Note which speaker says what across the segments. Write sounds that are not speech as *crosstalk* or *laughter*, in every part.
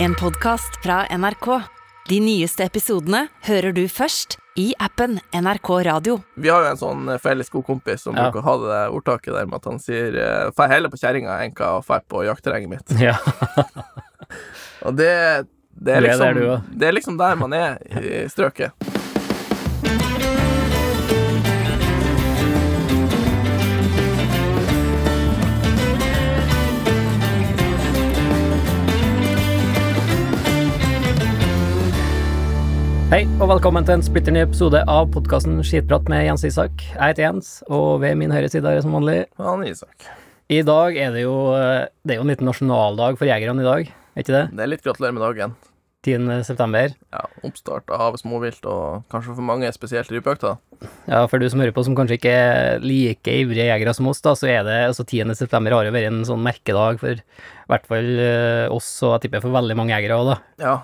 Speaker 1: En podcast fra NRK. De nyeste episodene hører du først i appen NRK Radio.
Speaker 2: Vi har jo en sånn eh, felles god kompis som
Speaker 3: Ja.
Speaker 2: bruker å ha det der ordtaket der med at han sier eh, Fær heller på kjerringa enn hva fær på jaktterrenget mitt.
Speaker 3: *laughs* Ja.
Speaker 2: Og det, det, er
Speaker 3: Det er
Speaker 2: liksom,
Speaker 3: der du er.
Speaker 2: det er liksom der man er i strøket.
Speaker 3: Hei, og velkommen til en splitter ny episode av podkasten Skitprat med Jens Isak. Jeg heter Jens, og ved min høyre side er det som vanlig.
Speaker 2: Han Isak.
Speaker 3: I dag er det jo eh, Det er jo en liten nasjonaldag for jegerne i dag, er ikke det?
Speaker 2: Det er litt gratulerer med dagen.
Speaker 3: 10. september.
Speaker 2: Ja, Oppstart av havet småvilt, og kanskje for mange spesielt rypejakta.
Speaker 3: Ja, for du som hører på, som kanskje ikke er like ivrige jegere som oss, da, så er det altså 10. september har jo vært en sånn merkedag for i hvert fall eh, oss, og jeg tipper for veldig mange jegere òg, da.
Speaker 2: Ja,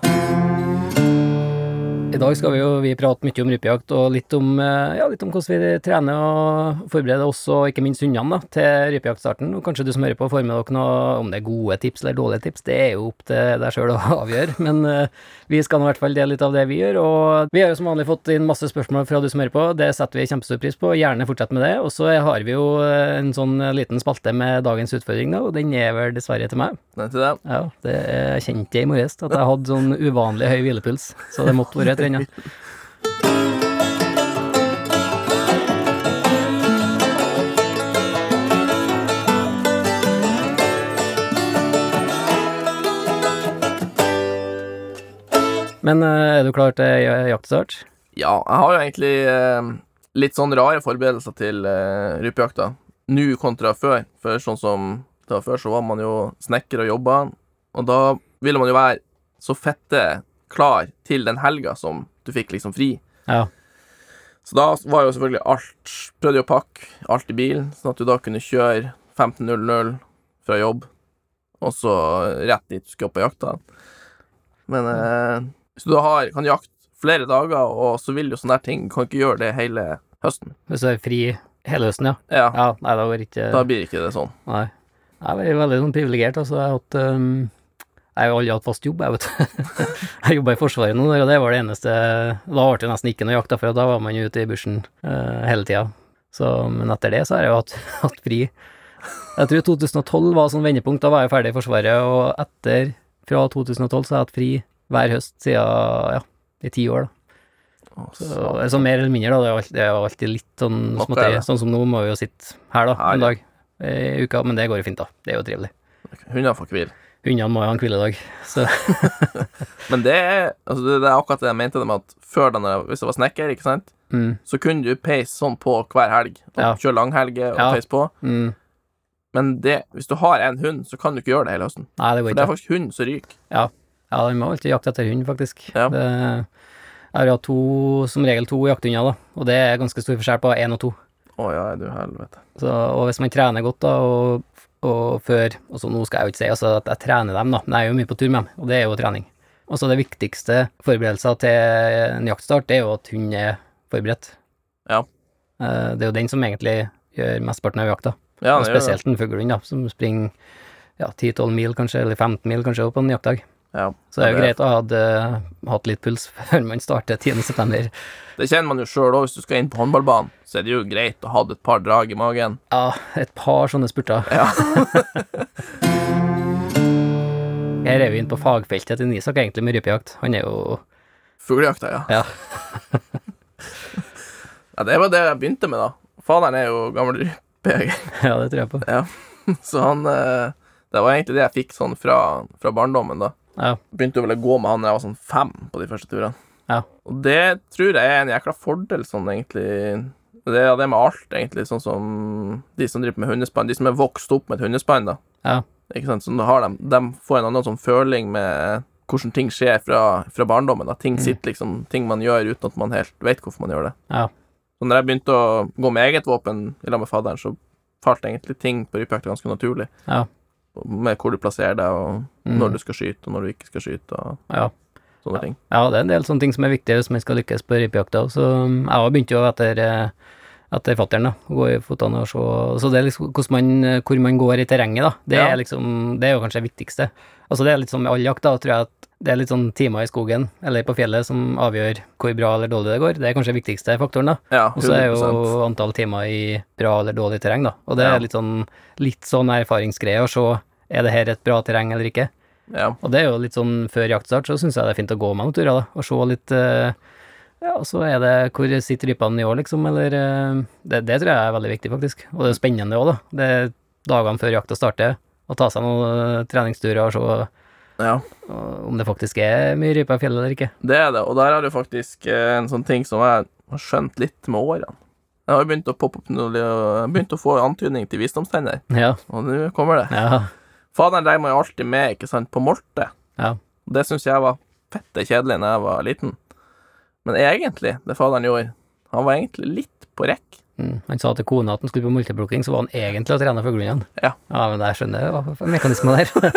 Speaker 3: I dag skal vi jo vi prate mye om rypejakt og litt om, eh, ja, litt om hvordan vi trener og forbereder oss, og ikke minst hundene da, til rypejaktstarten. Og kanskje du som hører på får med dere noe om det er gode tips eller dårlige tips, det er jo opp til deg sjøl å *laughs* avgjøre. Men eh, vi skal nå i hvert fall dele litt av det vi gjør. Og vi har jo som vanlig fått inn masse spørsmål fra du som hører på, det setter vi kjempestor pris på. Gjerne fortsett med det. Og så har vi jo eh, en sånn liten spalte med dagens utfordring, da, og den er vel dessverre til meg.
Speaker 2: den til deg.
Speaker 3: Ja, det jeg kjente jeg i morges, at jeg hadde sånn uvanlig høy hvilepuls. Så det måtte være trening. Men eh, er du klar til ja- jaktstart?
Speaker 2: Ja, jeg har jo egentlig eh, litt sånn rare forberedelser til eh, rypejakta. Nå kontra før. For sånn som det var før, så var man jo snekker og jobba. Og da ville man jo være så fette klar til den helga som du fikk liksom fri.
Speaker 3: Ja.
Speaker 2: Så da var jo selvfølgelig alt Prøvde jo å pakke alt i bilen, sånn at du da kunne kjøre 15.00 fra jobb, og så rett dit du skal på jakta. Men eh, hvis du da har, kan jakte flere dager, og så vil jo sånne her ting Kan ikke gjøre det hele høsten.
Speaker 3: Hvis du er fri hele høsten, ja.
Speaker 2: Ja,
Speaker 3: Ja, nei, da går ikke
Speaker 2: da blir ikke det sånn.
Speaker 3: Nei. Jeg er veldig sånn privilegert. Altså, jeg har hatt ehm, Jeg har jo aldri hatt fast jobb, jeg, vet du. *laughs* jeg jobba i Forsvaret noen år, og det var det eneste Da ble det nesten ikke noe jakt, da, for da var man jo ute i bushen eh, hele tida. Så, men etter det så har jeg jo hatt, *laughs* hatt fri. Jeg tror 2012 var sånn vendepunkt. Da var jeg ferdig i Forsvaret, og etter Fra 2012 så har jeg hatt fri hver høst siden ja, i ti år, da.
Speaker 2: Å,
Speaker 3: Så,
Speaker 2: så-
Speaker 3: altså, mer eller mindre, da. Det er jo alt- Det er jo alltid litt sånn
Speaker 2: Nok er
Speaker 3: småtteri.
Speaker 2: det.
Speaker 3: Sånn som nå må vi jo sitte her, da, en
Speaker 2: Ja, ja.
Speaker 3: dag i uka, men det går jo fint, da. Det er jo trivelig.
Speaker 2: Hundene får hvile.
Speaker 3: Hundene må jo ha en hviledag, *laughs* så
Speaker 2: Men det er, altså, det det er akkurat det jeg mente det med at før, den, hvis jeg var snekker, ikke sant,
Speaker 3: mm,
Speaker 2: så kunne du peise sånn på hver helg. Og
Speaker 3: Ja.
Speaker 2: Kjøre langhelger og
Speaker 3: Ja.
Speaker 2: peise på.
Speaker 3: mm.
Speaker 2: Men det, hvis du har en hund, så kan du ikke gjøre det hele høsten.
Speaker 3: Nei, det går
Speaker 2: For det er
Speaker 3: ikke.
Speaker 2: faktisk hund som ryker.
Speaker 3: Ja, vi må alltid jakte etter hund, faktisk.
Speaker 2: Ja.
Speaker 3: Det, jeg har hatt to, som regel to jakthunder, da, og det er ganske stor forskjell på én og to.
Speaker 2: Å ja, du helvete.
Speaker 3: Så, og hvis man trener godt, da, og, og før Altså, nå skal jeg jo ikke si altså, at jeg trener dem, da, men jeg er jo mye på tur med dem, og det er jo trening. Og så det viktigste forberedelser til en jaktstart, det er jo at hunden er forberedt.
Speaker 2: Ja.
Speaker 3: Eh, Det er jo den som egentlig gjør mesteparten av jakta.
Speaker 2: Ja,
Speaker 3: Og
Speaker 2: det gjør det.
Speaker 3: spesielt en fuglehund, da, som springer ja, 10-12 mil, kanskje, eller 15 mil, kanskje, på en jaktdag.
Speaker 2: Ja.
Speaker 3: Så det er jo
Speaker 2: Ja, det
Speaker 3: greit å ha hatt, eh, hatt litt puls *laughs* før man starter 10. september.
Speaker 2: Det kjenner man jo sjøl òg, hvis du skal inn på håndballbanen, så er det jo greit å ha et par drag i magen.
Speaker 3: Ja, et par sånne spurter. *laughs*
Speaker 2: Ja.
Speaker 3: Her er vi inne på fagfeltet til Nisak, egentlig, med rypejakt. Han er jo
Speaker 2: Fuglejakta, ja.
Speaker 3: Ja.
Speaker 2: ja. Det var det jeg begynte med, da. Faderen er jo gammel rypejeger,
Speaker 3: *laughs* Ja, det tror jeg på.
Speaker 2: *laughs* så han eh, Det var egentlig det jeg fikk sånn fra, fra barndommen, da.
Speaker 3: Ja.
Speaker 2: Begynte vel å gå med han da jeg var sånn fem på de første turene.
Speaker 3: Ja.
Speaker 2: Og det tror jeg er en jækla fordel, sånn egentlig. Det er det med alt, egentlig, sånn som de som driver med hundespann. De som er vokst opp med et hundespann, da.
Speaker 3: Ja.
Speaker 2: Ikke sant? Så da har de, de får en annen sånn føling med hvordan ting skjer fra, fra barndommen. Da.
Speaker 3: Mm.
Speaker 2: Ting sitter liksom, ting man gjør uten at man helt vet hvorfor man gjør det.
Speaker 3: Ja.
Speaker 2: Så når jeg begynte å gå med eget våpen i lag med fadderen, så falt egentlig ting på rypejakta ganske naturlig.
Speaker 3: Ja.
Speaker 2: Med hvor du plasserer deg, og
Speaker 3: Mm.
Speaker 2: når du skal skyte, og når du ikke skal skyte, og
Speaker 3: Ja.
Speaker 2: sånne ting.
Speaker 3: ja, det er en del sånne ting som er viktige hvis man skal lykkes på rypejakta. Så mm, jeg òg begynte jo etter, eh, etter fattern, da. Å gå i føttene og se Så det er liksom hvordan man, hvor man går i terrenget, da. Det
Speaker 2: Ja.
Speaker 3: er liksom Det er jo kanskje det viktigste. Altså, det er litt sånn med all jakt, da, tror jeg at Det er litt sånn timer i skogen eller på fjellet som avgjør hvor bra eller dårlig det går. Det er kanskje den viktigste faktoren, da.
Speaker 2: Ja,
Speaker 3: Og så er
Speaker 2: 100
Speaker 3: jo antall timer i bra eller dårlig terreng, da. Og det
Speaker 2: Ja.
Speaker 3: er litt sånn, litt sånn erfaringsgreie å se er det her et bra terreng eller ikke.
Speaker 2: ja.
Speaker 3: Og det er jo litt sånn før jaktstart, så syns jeg det er fint å gå meg noen turer, da, og se litt eh, Ja, og så er det hvor sitter rypene i år, liksom, eller eh, det, det tror jeg er veldig viktig, faktisk. Og det er spennende òg, da. Det er dagene før jakta starter, å ta seg noen eh, treningsturer og se
Speaker 2: ja.
Speaker 3: og om det faktisk er mye rype i fjellet eller ikke.
Speaker 2: Det er det, og der er det faktisk eh, en sånn ting som jeg har skjønt litt med årene. Jeg har jo begynt å poppe opp noe, jeg har begynt å få antydning til visdomstenner,
Speaker 3: Ja,
Speaker 2: og nå kommer det.
Speaker 3: ja,
Speaker 2: Faderen regner jo alltid med, ikke sant, på molte.
Speaker 3: ja.
Speaker 2: Og Det syns jeg var fette kjedelig da jeg var liten. Men egentlig, det faderen gjorde, han var egentlig litt på rekk.
Speaker 3: Mm. Han sa til kona at han skulle på multiplukking, så var han egentlig og trena fuglehundene.
Speaker 2: Ja.
Speaker 3: ja, men jeg skjønner hva mekanismen der.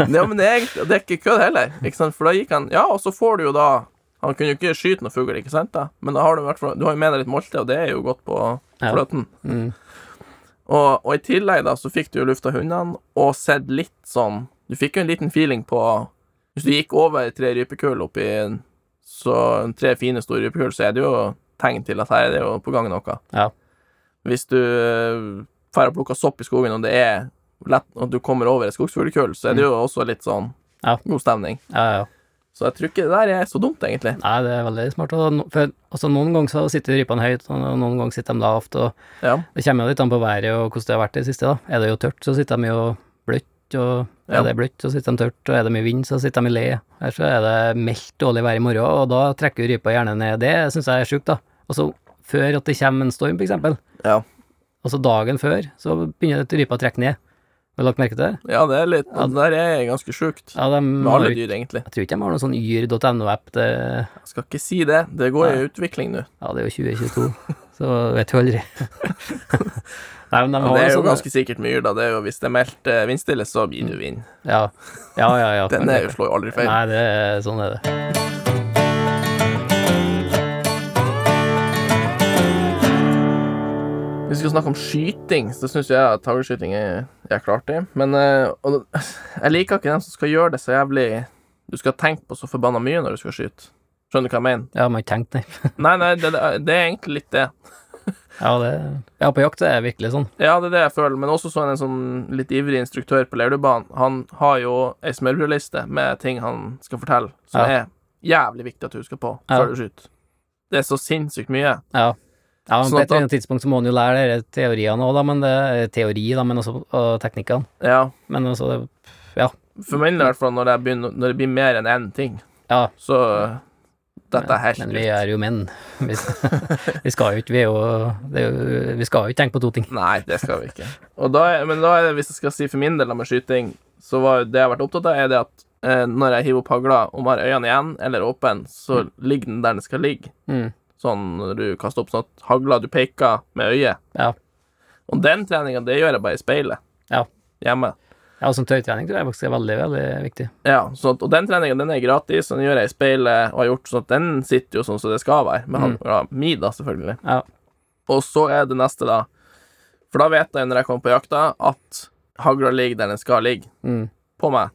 Speaker 2: Ja, men det er, egentlig- det er ikke kødd heller, ikke sant, for da gikk han Ja, og så får du jo da Han kunne jo ikke skyte noen fugl, ikke sant, da, men da har du i hvert fall Du har jo med deg litt molte, og det er jo godt på
Speaker 3: Ja.
Speaker 2: fløten.
Speaker 3: *laughs* Mm.
Speaker 2: Og, og i tillegg da, så fikk du jo lufta hundene, og sett litt sånn Du fikk jo en liten feeling på Hvis du gikk over tre rypekull oppi en- så tre fine, store rypekull, så er det jo tegn til at her er det jo på gang noe.
Speaker 3: Ja.
Speaker 2: Hvis du eh, drar og plukker sopp i skogen, og det er lett og du kommer over et skogsfuglekull, så er det jo også litt sånn
Speaker 3: Mm. Ja.
Speaker 2: god stemning.
Speaker 3: Ja, ja.
Speaker 2: Så jeg tror ikke det der er så dumt, egentlig.
Speaker 3: Nei, det er veldig smart. Og no- for, altså, noen ganger så sitter rypene høyt, og noen ganger sitter de lavt. Og
Speaker 2: Ja.
Speaker 3: det kommer jo litt an på været og hvordan det har vært det siste. da. Er det jo tørt, så sitter de jo bløtt. og Er
Speaker 2: Ja.
Speaker 3: det bløtt, så sitter de tørt. og Er det mye vind, så sitter de i le. Her så er det meldt dårlig vær i morgen, og da trekker jo rypa gjerne ned. Det syns jeg er sjukt, da. Og så før at det kommer en storm, for eksempel,
Speaker 2: Ja.
Speaker 3: altså dagen før, så begynner det- rypa å trekke ned. Har du lagt merke til det?
Speaker 2: ja, det er litt Det der er ganske sjukt.
Speaker 3: Ja, de
Speaker 2: Med
Speaker 3: har
Speaker 2: alle
Speaker 3: jo-
Speaker 2: dyr, egentlig.
Speaker 3: Jeg tror ikke de har noen sånn yr.no-app. det...
Speaker 2: Jeg skal ikke si det. Det går i utvikling nå.
Speaker 3: Ja, det er jo 2022,
Speaker 2: *laughs*
Speaker 3: så vet du aldri. Nei, men de
Speaker 2: Ja,
Speaker 3: har
Speaker 2: det er jo
Speaker 3: sånne-
Speaker 2: ganske sikkert med yr, da. Det er jo, hvis det er meldt eh, vindstille, så gir du vind.
Speaker 3: Ja, ja, ja. ja
Speaker 2: Den er jo slår jo aldri feil.
Speaker 3: Nei, det er, sånn er det.
Speaker 2: Vi skal snakke om skyting, så det syns jeg at haglskyting er, er klart i. Men eh, og, det- *sighs* jeg liker ikke dem som skal gjøre det så jævlig Du skal tenke på så forbanna mye når du skal skyte. Skjønner du hva jeg
Speaker 3: *laughs*
Speaker 2: mener?
Speaker 3: Ja, man tenkte det.
Speaker 2: Nei, nei, det, det er- det er egentlig litt det.
Speaker 3: Ja, det ja, på jakt er det virkelig sånn.
Speaker 2: Ja, det er det jeg føler, men også sånn en sånn litt ivrig instruktør på Leirdubanen. Han har jo ei smørbrødliste med ting han skal fortelle, som
Speaker 3: Ja.
Speaker 2: er jævlig viktig at du husker på
Speaker 3: Ja.
Speaker 2: før du skyter. Det er så sinnssykt mye.
Speaker 3: Ja. ja men
Speaker 2: Sånn
Speaker 3: på
Speaker 2: at
Speaker 3: et eller annet tidspunkt så må man jo lære dere teoriene òg, da, men det er teori, da, men også og teknikkene.
Speaker 2: Ja.
Speaker 3: Men altså, det-
Speaker 2: For min del, i hvert fall, når, jeg begynner, når det blir mer enn én ting,
Speaker 3: ja.
Speaker 2: så øh, Dette er helt
Speaker 3: Men vi
Speaker 2: vilt.
Speaker 3: er jo menn. Vi, *laughs* vi skal jo ikke, vi er jo, det er jo Vi skal jo ikke tenke på to ting.
Speaker 2: Nei, det skal vi ikke. Og da er, men da er det, hvis jeg skal si for min del da med skyting, så var jo det jeg har vært opptatt av, er det at eh, når jeg hiver opp hagla, om jeg har øynene igjen eller åpen, så ligger den der den skal ligge.
Speaker 3: Mm.
Speaker 2: Sånn når du kaster opp sånn at hagla du peker med øyet.
Speaker 3: Ja.
Speaker 2: Og den treninga, det gjør jeg bare i speilet
Speaker 3: Ja.
Speaker 2: hjemme.
Speaker 3: ja, og som tøytrening tror jeg faktisk er veldig, veldig viktig.
Speaker 2: Ja, så at, og den treninga, den er gratis, og den gjør jeg i speilet, og har gjort sånn at den sitter jo sånn som det skal være, med
Speaker 3: Mm.
Speaker 2: hagla mi, da, selvfølgelig.
Speaker 3: Ja.
Speaker 2: Og så er det neste, da. For da vet jeg jo når jeg kommer på jakta, at hagla ligger der den skal ligge,
Speaker 3: Mm.
Speaker 2: på meg.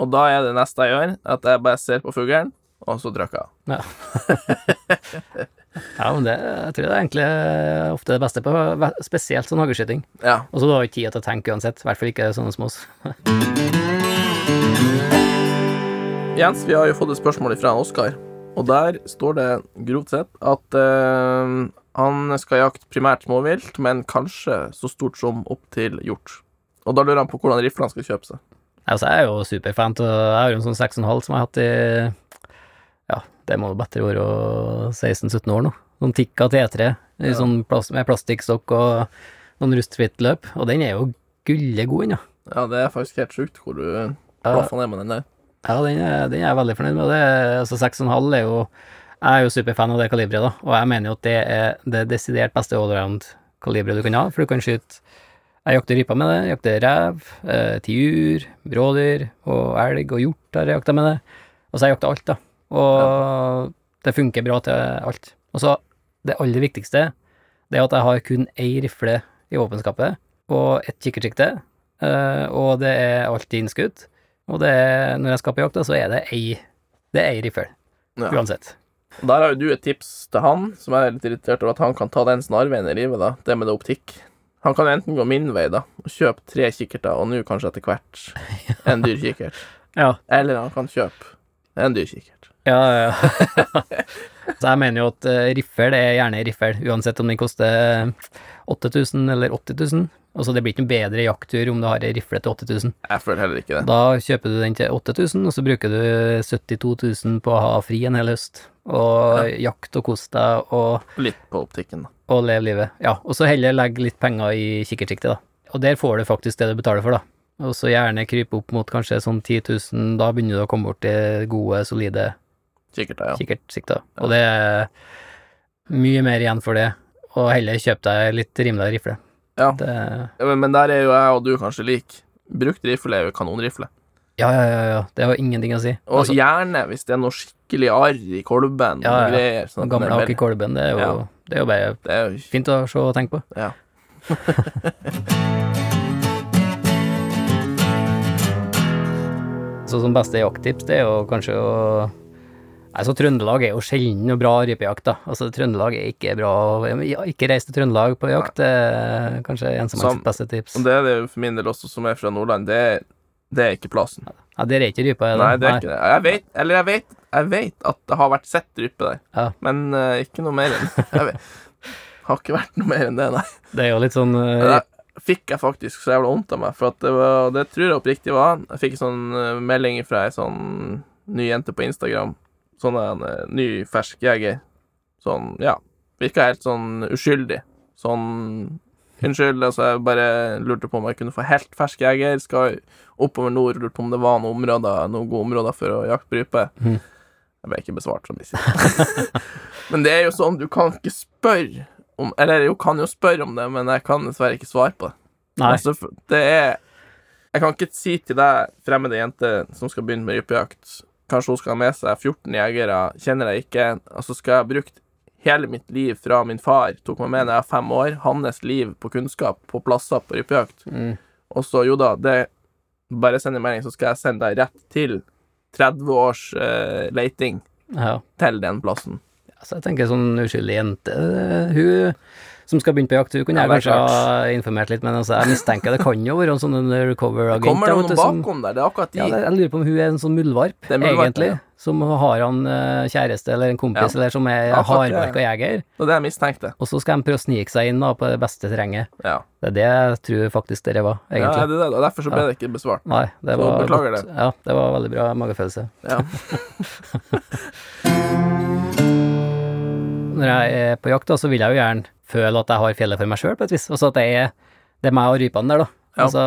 Speaker 2: Og da er det neste jeg gjør, at jeg bare ser på fuglen, og så trykker jeg.
Speaker 3: Ja. *laughs* ja, men det jeg tror jeg det er egentlig eh, ofte det beste på, ve- spesielt sånn hageskyting.
Speaker 2: Ja.
Speaker 3: Og så du har jo ikke tid til å tenke uansett, i hvert fall ikke sånne som oss.
Speaker 2: Jens, vi har jo fått et spørsmål fra Oskar, og der står det grovt sett at eh, han skal jakte primært småvilt, men kanskje så stort som opp til hjort. Og da lurer han på hvordan riflene skal kjøpe seg.
Speaker 3: Altså, jeg er jo superfan, og jeg har jo en sånn 6,5 som jeg har hatt i ja, det må jo bedre være å 16-17 år nå. Sånn Tikka T3 i sånn plast, med plastikkstokk og noen rustfritt løp, og den er jo gullegod ennå.
Speaker 2: Ja, det er faktisk helt sjukt hvor du plaffa ned med den der.
Speaker 3: Ja, den er, den er jeg veldig fornøyd med. Det, er- altså, 6,5 er jo Jeg er jo superfan av det kaliberet, da, og jeg mener jo at det er det desidert beste allround-kaliberet du kan ha, for du kan skyte Jeg jakter ryper med det, jakter rev, eh, tiur, rådyr og elg og hjort har jeg jakta med det. Og så har jeg jakta alt, da. Og det funker bra til alt. Og så det aller viktigste, det er at jeg har kun ei rifle i våpenskapet og et kikkertsikte, eh, og det er alltid innskudd. Og det, når jeg skal på jakt, da, så er det ei, det er ei riffel,
Speaker 2: Ja.
Speaker 3: uansett.
Speaker 2: Og Der har jo du et tips til han, som jeg er litt irritert over at han kan ta den snarveien i livet, da. Det med det optikk. Han kan enten gå min vei, da, og kjøpe tre kikkerter, og nå kanskje etter
Speaker 3: *laughs*
Speaker 2: hvert en dyr kikkert.
Speaker 3: Ja,
Speaker 2: Eller han kan kjøpe en dyr kikkert.
Speaker 3: ja, ja. *laughs* så jeg mener jo at eh, riffel er gjerne ei riffel, uansett om den koster 8000 eller 80 000. Altså, det blir ikke noen bedre jakttur om du har ei rifle til 80 000.
Speaker 2: Jeg føler heller ikke det.
Speaker 3: Da kjøper du den til 8000, og så bruker du 72 000 på å ha fri en hel høst, og jakt og kos deg og,
Speaker 2: Litt på optikken, da.
Speaker 3: og leve livet. Ja, og så heller legge litt penger i kikkertsiktet, da. Og der får du faktisk det du betaler for, da. Og så gjerne krype opp mot kanskje sånn 10 000, da begynner du å komme bort til gode, solide
Speaker 2: Kikkerter, ja.
Speaker 3: kikkertsikter. Og det er mye mer igjen for det, og heller kjøpe deg litt rimeligere rifle.
Speaker 2: Ja.
Speaker 3: Det,
Speaker 2: Ja, Men, men der er jo jeg og du kanskje lik. Brukt rifle er jo kanonrifle.
Speaker 3: ja, ja, ja, ja, det har ingenting å si.
Speaker 2: Og
Speaker 3: Altså,
Speaker 2: gjerne hvis det er noe skikkelig arr i kolben
Speaker 3: Ja, ja, ja.
Speaker 2: og greier. Sånn at den
Speaker 3: gamle
Speaker 2: er
Speaker 3: hakk i
Speaker 2: mer-
Speaker 3: kolben, det er jo,
Speaker 2: Ja.
Speaker 3: det er jo bare
Speaker 2: det er jo
Speaker 3: Fint å se og tenke på.
Speaker 2: Ja.
Speaker 3: *laughs* Så som beste jakttips, det er jo kanskje å Nei, så Trøndelag er jo sjelden noe bra rypejakt, da. Altså, Trøndelag er ikke bra ja, Ikke reis til Trøndelag på jakt, det er kanskje
Speaker 2: Som-
Speaker 3: ensomhetens beste tips.
Speaker 2: Og det er det jo for min del også, som er fra Nordland. Det er, det er ikke plassen.
Speaker 3: Ja, der er ikke rypa, er det?
Speaker 2: Nei, det er ikke det. Jeg vet, eller jeg vet, jeg vet at det har vært sett dryppe der,
Speaker 3: Ja.
Speaker 2: men eh, ikke noe mer enn jeg vet, Har ikke vært noe mer enn det, nei.
Speaker 3: Det er jo litt sånn eh,
Speaker 2: Men Det fikk jeg faktisk så jævla vondt av meg, for at det, var, det tror jeg oppriktig var. Jeg fikk en sånn eh, melding fra ei sånn ny jente på Instagram. Sånn en eh, ny, fersk jeger. Sånn, ja. Virka helt sånn uskyldig. Sånn Unnskyld, altså, jeg bare lurte på om jeg kunne få helt fersk jeger. Skal oppover nord, lurte på om det var noen områder, noen gode områder for å jakte på rype.
Speaker 3: Mhm.
Speaker 2: Jeg ble ikke besvart, som de sier. *laughs* Men det er jo sånn, du kan ikke spørre om Eller jo, kan jo spørre om det, men jeg kan dessverre ikke svare på det.
Speaker 3: Nei.
Speaker 2: Altså, for- det er Jeg kan ikke si til deg, fremmede jente som skal begynne med rypejakt Kanskje hun skal ha med seg 14 jegere, kjenner jeg ikke. Altså skal jeg ha brukt hele mitt liv fra min far tok meg med da jeg var fem år, hans liv på kunnskap, på plasser på rypejakt.
Speaker 3: Mm.
Speaker 2: Og så, jo da, det Bare send en melding, så skal jeg sende deg rett til 30 års eh, leiting
Speaker 3: Ja.
Speaker 2: til den plassen.
Speaker 3: Altså, jeg tenker sånn uskyldig jente eh, Hun som skal begynne på jakt, hun kunne
Speaker 2: Ja,
Speaker 3: jeg
Speaker 2: det er
Speaker 3: kanskje ha informert litt, men altså, jeg mistenker det kan jo være en sånn undercover-agent.
Speaker 2: Kommer det
Speaker 3: da, vet
Speaker 2: noen
Speaker 3: du, som-
Speaker 2: bakom der? Det er akkurat de.
Speaker 3: Ja, det- jeg lurer på om hun er en sånn muldvarp,
Speaker 2: Det er muldvarp,
Speaker 3: egentlig.
Speaker 2: ja.
Speaker 3: Som har han eh, kjæreste eller en kompis
Speaker 2: Ja.
Speaker 3: eller som er
Speaker 2: Ja, akkurat, ja,
Speaker 3: hardbarka jeger,
Speaker 2: Det var det jeg mistenkte.
Speaker 3: og så skal de prøve å snike seg inn da, på det beste terrenget.
Speaker 2: Ja.
Speaker 3: Det er det jeg tror faktisk dere var,
Speaker 2: ja,
Speaker 3: egentlig.
Speaker 2: er det det, da? Derfor så ble det ikke
Speaker 3: *laughs*
Speaker 2: besvart.
Speaker 3: Nei, det
Speaker 2: Så
Speaker 3: var
Speaker 2: beklager
Speaker 3: godt. Ja, det var veldig bra magefølelse.
Speaker 2: Ja.
Speaker 3: Når jeg er på jakt, da, så vil jeg jo gjerne føle at jeg har fjellet for meg sjøl, på et vis. Altså at det er, det er meg og rypene der, da.
Speaker 2: Ja.
Speaker 3: Altså,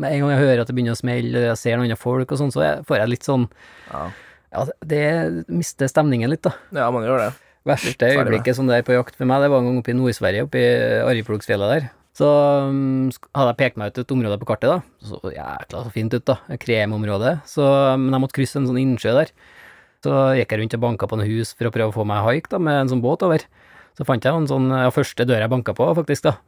Speaker 3: med en gang jeg hører at det begynner å smelle, og jeg ser noen andre folk og sånn, så jeg- får jeg litt sånn
Speaker 2: Ja.
Speaker 3: Ja, det mister stemningen litt, da.
Speaker 2: ja, man gjør det.
Speaker 3: Verste
Speaker 2: Litt ferdig med.
Speaker 3: øyeblikket som det er på jakt for meg, det var en gang oppe i Nord-Sverige, oppe i Arjeplogsfjellet der. Så um, sk- hadde jeg pekt meg ut et område på kartet, da. Så jækla så fint ut, da. Et Kremområde. Så, men jeg måtte krysse en sånn innsjø der. Så gikk jeg rundt og banka på noen hus for å prøve å få meg haik da, med en sånn båt over. Så fant jeg en sånn, ja, første døra jeg banka på, faktisk, da.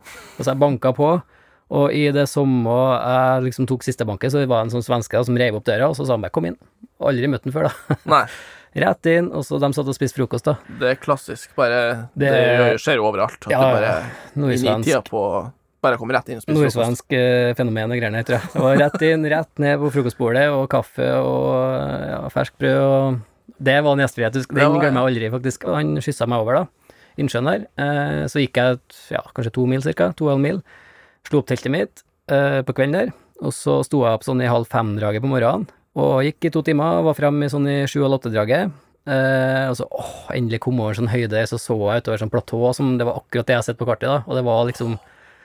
Speaker 3: Og så jeg banka på, og i det samme jeg liksom tok siste banket, så var det en sånn svenske da, som reiv opp døra, og så sa han bare 'kom inn'. Aldri møtt han før, da. *laughs*
Speaker 2: Nei,
Speaker 3: Rett inn, og så de satt og spiste frokost, da.
Speaker 2: det er klassisk. Bare Det,
Speaker 3: Det-
Speaker 2: gjør- skjer jo overalt. At
Speaker 3: Ja,
Speaker 2: du bare i
Speaker 3: Nordsvensk.
Speaker 2: tida på Bare kommer rett inn og spiser frokost.
Speaker 3: Nordsvensk eh, fenomen og greiene, tror jeg. Det var rett inn, rett ned på frokostbordet, og kaffe og ja, ferskt brød og Det var en gjestfrihet.
Speaker 2: Det
Speaker 3: husk- Den
Speaker 2: var-
Speaker 3: glemmer jeg aldri, faktisk. Og han skyssa meg over, da. Innsjøen der. Eh, Så gikk jeg ja, kanskje to mil, cirka. To og en halv mil. Slo opp teltet mitt eh, på kvelden der, og så sto jeg opp sånn i halv fem-draget på morgenen, og gikk i to timer, var frem i sånn i sju- og åtte-draget. Eh, og så åh, endelig kom jeg over sånn høyde, så så jeg utover sånn platå som det var akkurat det jeg har sett på kartet, da, og det var liksom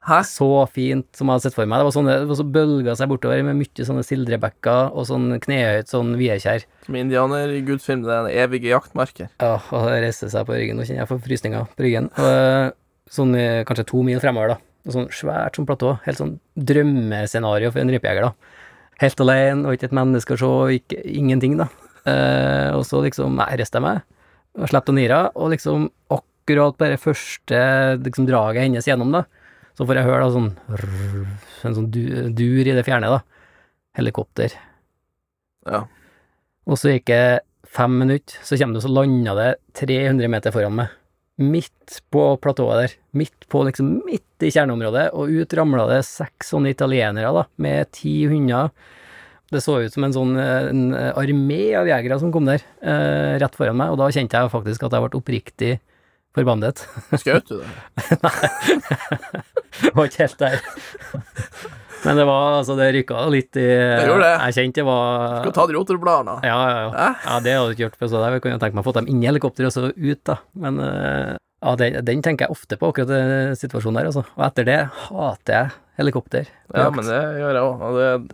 Speaker 2: Hæ?
Speaker 3: så fint som jeg hadde sett for meg. Det var sånne, det var så bølga seg bortover med mye sånne sildrebekker og sånn knehøyt sånn viekjær.
Speaker 2: Som indianer i gudfilm, det er den evige jaktmarker.
Speaker 3: Ja, og det reiste seg på ryggen. Nå kjenner jeg for frysninger på ryggen. Og, eh, sånn eh, kanskje to mil fremover, da. Og sånn svært sånn platå. Helt sånn drømmescenario for en rypejeger, da. Helt alene, og ikke et menneske å se, og ikke, ingenting, da. Eh, og så liksom Nei, reiste jeg meg. Og slapp av nira, og liksom akkurat bare første liksom, draget hennes gjennom, da, så får jeg høre da sånn rrr, En sånn du, dur i det fjerne, da. Helikopter.
Speaker 2: Ja.
Speaker 3: Og så gikk det fem minutter, så kommer du, så landa det 300 meter foran meg. Midt på platået der. Midt på, liksom midt i kjerneområdet, og ut ramla det seks sånne italienere, da, med ti hunder. Det så ut som en sånn eh, en armé av jegere som kom der, eh, rett foran meg, og da kjente jeg faktisk at jeg ble oppriktig forbannet. *laughs*
Speaker 2: Skjøt du det?
Speaker 3: Det var ikke
Speaker 2: *laughs*
Speaker 3: helt der. Men det var, altså, det rykka litt i
Speaker 2: Det gjorde det.
Speaker 3: Jeg kjente det var
Speaker 2: Skal ta de rotorbladene.
Speaker 3: Ja, ja, ja.
Speaker 2: Hæ?
Speaker 3: ja det hadde du ikke gjort. for Så der kunne jeg tenkt meg å få dem inn i helikopteret og så ut, da. Men eh, ja, den, den tenker jeg ofte på, akkurat den situasjonen der, altså. Og etter det hater jeg helikopter.
Speaker 2: Ja, men det gjør jeg òg. Og, det-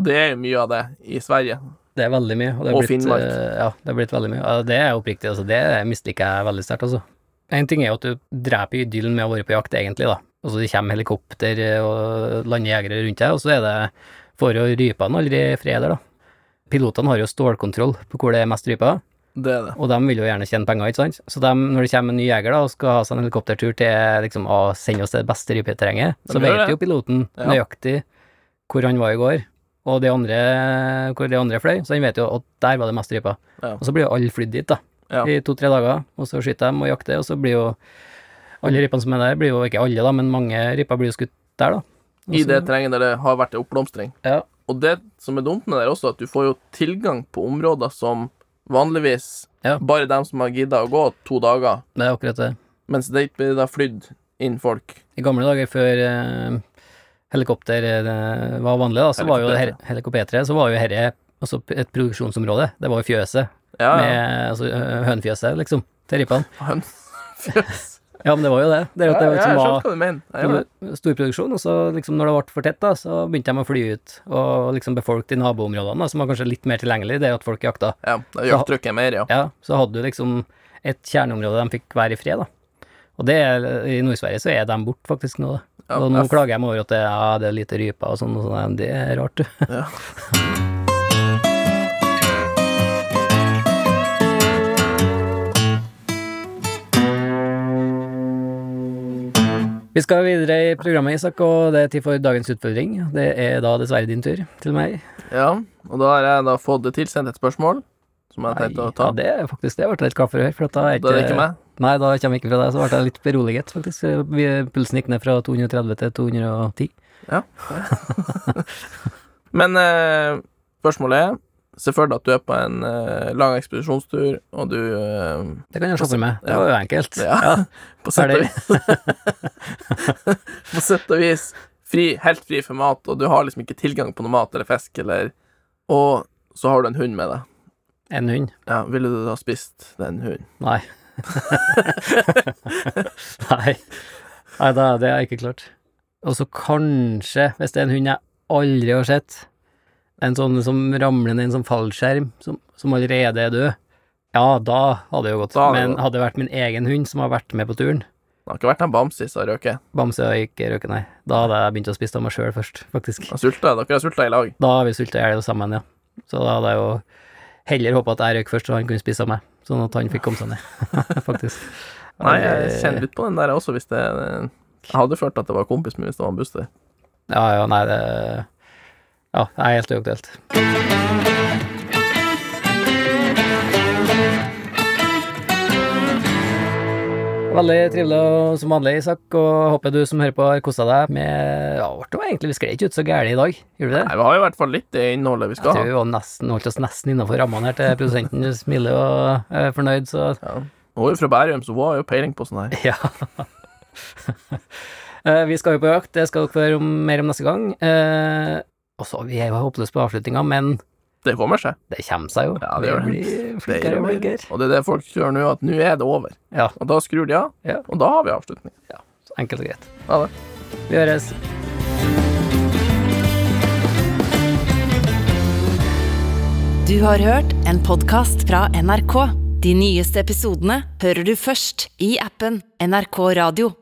Speaker 2: og det er jo mye av det i Sverige.
Speaker 3: Det er veldig mye. det er
Speaker 2: Og
Speaker 3: blitt,
Speaker 2: Finnmark.
Speaker 3: eh, ja, det er blitt veldig mye. Ja, det er jeg oppriktig, altså. Det misliker jeg veldig sterkt, altså. En ting er jo at du dreper idyllen med å være på jakt, egentlig, da. Og så det kommer helikopter eh, og landjegere rundt deg, og så er det får jo rypene aldri fred heller, da. Pilotene har jo stålkontroll på hvor det er mest ryper.
Speaker 2: Det er det.
Speaker 3: Og de vil jo gjerne tjene penger, ikke sant. Så dem, når det kommer en ny jeger da, og skal ha seg en helikoptertur til liksom, å sende oss til det beste rypeterrenget,
Speaker 2: De
Speaker 3: så
Speaker 2: gjør
Speaker 3: vet
Speaker 2: det.
Speaker 3: jo piloten
Speaker 2: Ja.
Speaker 3: nøyaktig hvor han var i går, og de andre, hvor de andre fløy, så han vet jo at der var det mest ryper.
Speaker 2: Ja.
Speaker 3: Og så blir jo alle flydd dit, da,
Speaker 2: Ja.
Speaker 3: i to-tre dager, og så skyter de og jakter, og så blir jo alle rypene som er der, blir jo ikke alle, da, men mange ryper blir jo skutt der, da. Og
Speaker 2: I
Speaker 3: så-
Speaker 2: det terrenget der det har vært en oppblomstring.
Speaker 3: Ja.
Speaker 2: Og det som er dumt med det, er også at du får jo tilgang på områder som vanligvis
Speaker 3: Ja.
Speaker 2: bare dem som har gidda å gå to dager,
Speaker 3: Det er akkurat det.
Speaker 2: mens det blir da flydd inn folk.
Speaker 3: I gamle dager før eh, helikopter eh, var vanlig, da, så var jo det her, helikopteret, så var jo herre altså p- et produksjonsområde. Det var jo fjøset,
Speaker 2: Ja,
Speaker 3: med,
Speaker 2: ja.
Speaker 3: altså eh, hønefjøset, liksom, til ripene.
Speaker 2: *laughs* Hønsefjøs.
Speaker 3: Ja, men det var jo det. Det er
Speaker 2: Ja,
Speaker 3: jo at det
Speaker 2: jeg
Speaker 3: liksom
Speaker 2: skjønte
Speaker 3: var
Speaker 2: hva du mener. Ja, ja.
Speaker 3: produ- storproduksjon, og så liksom når det ble for tett, da, så begynte de å fly ut og liksom befolke de naboområdene, da, som var kanskje litt mer tilgjengelig, det er at folk jakta.
Speaker 2: Ja, da gjør trykket mer, ja.
Speaker 3: Ja, så hadde du liksom et kjerneområde de fikk være i fred, da. Og det, er- i Nord-Sverige så er de borte faktisk nå, da.
Speaker 2: Ja,
Speaker 3: og nå
Speaker 2: jeg-
Speaker 3: klager jeg meg over at det, ja, det er lite ryper og sånn, og sånn, Nei, men det er rart, du.
Speaker 2: Ja.
Speaker 3: *laughs* Vi skal videre i programmet, Isak, og det er tid for dagens utfordring. Det er da dessverre din tur til meg.
Speaker 2: ja. Og da har jeg da fått det tilsendt et spørsmål som jeg har tenkt å
Speaker 3: ja,
Speaker 2: ta.
Speaker 3: det er faktisk det. Jeg ble litt glad for å høre. For at da, er
Speaker 2: Da er det ikke meg.
Speaker 3: Nei, da kommer jeg ikke fra deg, så ble jeg litt beroliget, faktisk. Vi- Pulsen gikk ned fra 230 til 210.
Speaker 2: Men eh, spørsmålet er Se for deg at du er på en eh, lang ekspedisjonstur, og du eh,
Speaker 3: Det kan jeg se for meg. Det
Speaker 2: Ja.
Speaker 3: var jo enkelt.
Speaker 2: Ja. *laughs* På sett og
Speaker 3: Ferdig.
Speaker 2: vis *laughs* På sett og vis fri, helt fri for mat, og du har liksom ikke tilgang på noe mat eller fisk eller Og så har du en hund med deg.
Speaker 3: En hund.
Speaker 2: Ja, ville du da spist den hunden?
Speaker 3: Nei. *laughs* Nei. Nei, da, det har jeg ikke klart. Og så kanskje, hvis det er en hund jeg aldri har sett, en sånn som ramler ned i en sånn fallskjerm, som, som allerede er død, ja, da hadde det jo gått.
Speaker 2: Da hadde det
Speaker 3: Men
Speaker 2: gått.
Speaker 3: hadde det vært min egen hund som har vært med på turen,
Speaker 2: Det har ikke vært en bamse som har røket.
Speaker 3: Bamse har ikke røket, nei. Da hadde jeg begynt å spise av meg sjøl først, faktisk.
Speaker 2: Han sulta. Dere har sulta i lag.
Speaker 3: Da har vi sulta i hjel sammen, ja. Så da hadde jeg jo heller håpa at jeg røyk først, så han kunne spise av meg, sånn at han fikk komme seg ned, *laughs* faktisk.
Speaker 2: *laughs* Nei, jeg kjenner litt på den der også, hvis det eh, Jeg hadde følt at det var kompisen min hvis det var en buster.
Speaker 3: Ja, ja, nei, det Ja, det er helt uaktuelt. Veldig trivelig og som vanlig, Isak, og håper du som hører på har kosa deg med Ja, det var egentlig, vi skled ikke ut så gærent i dag, gjorde vi det?
Speaker 2: Nei, vi har jo i hvert fall litt i innholdet vi
Speaker 3: Jeg
Speaker 2: skal
Speaker 3: tror
Speaker 2: ha.
Speaker 3: vi var nesten, holdt oss nesten innafor rammene her til produsenten smiler og er fornøyd, så
Speaker 2: Ja. Hun er jo fra Bærum, så hun har jo peiling på sånn her.
Speaker 3: Ja. *laughs* Eh, vi skal jo på jakt, det skal dere få høre om, mer om neste gang. Eh, og så vi er jo håpløse på avslutninga, men
Speaker 2: Det kommer seg.
Speaker 3: det kommer seg jo.
Speaker 2: Ja, det gjør
Speaker 3: Vi
Speaker 2: det.
Speaker 3: blir
Speaker 2: Det
Speaker 3: flinkere
Speaker 2: gjør
Speaker 3: og
Speaker 2: vi.
Speaker 3: flinkere.
Speaker 2: Og det er det folk gjør nå, at nå er det over.
Speaker 3: Ja,
Speaker 2: Og da skrur de av,
Speaker 3: Ja.
Speaker 2: og da har vi avslutning.
Speaker 3: så enkelt og greit.
Speaker 2: Ha det.
Speaker 3: Vi høres.
Speaker 1: Du har hørt en podkast fra NRK. De nyeste episodene hører du først i appen NRK Radio.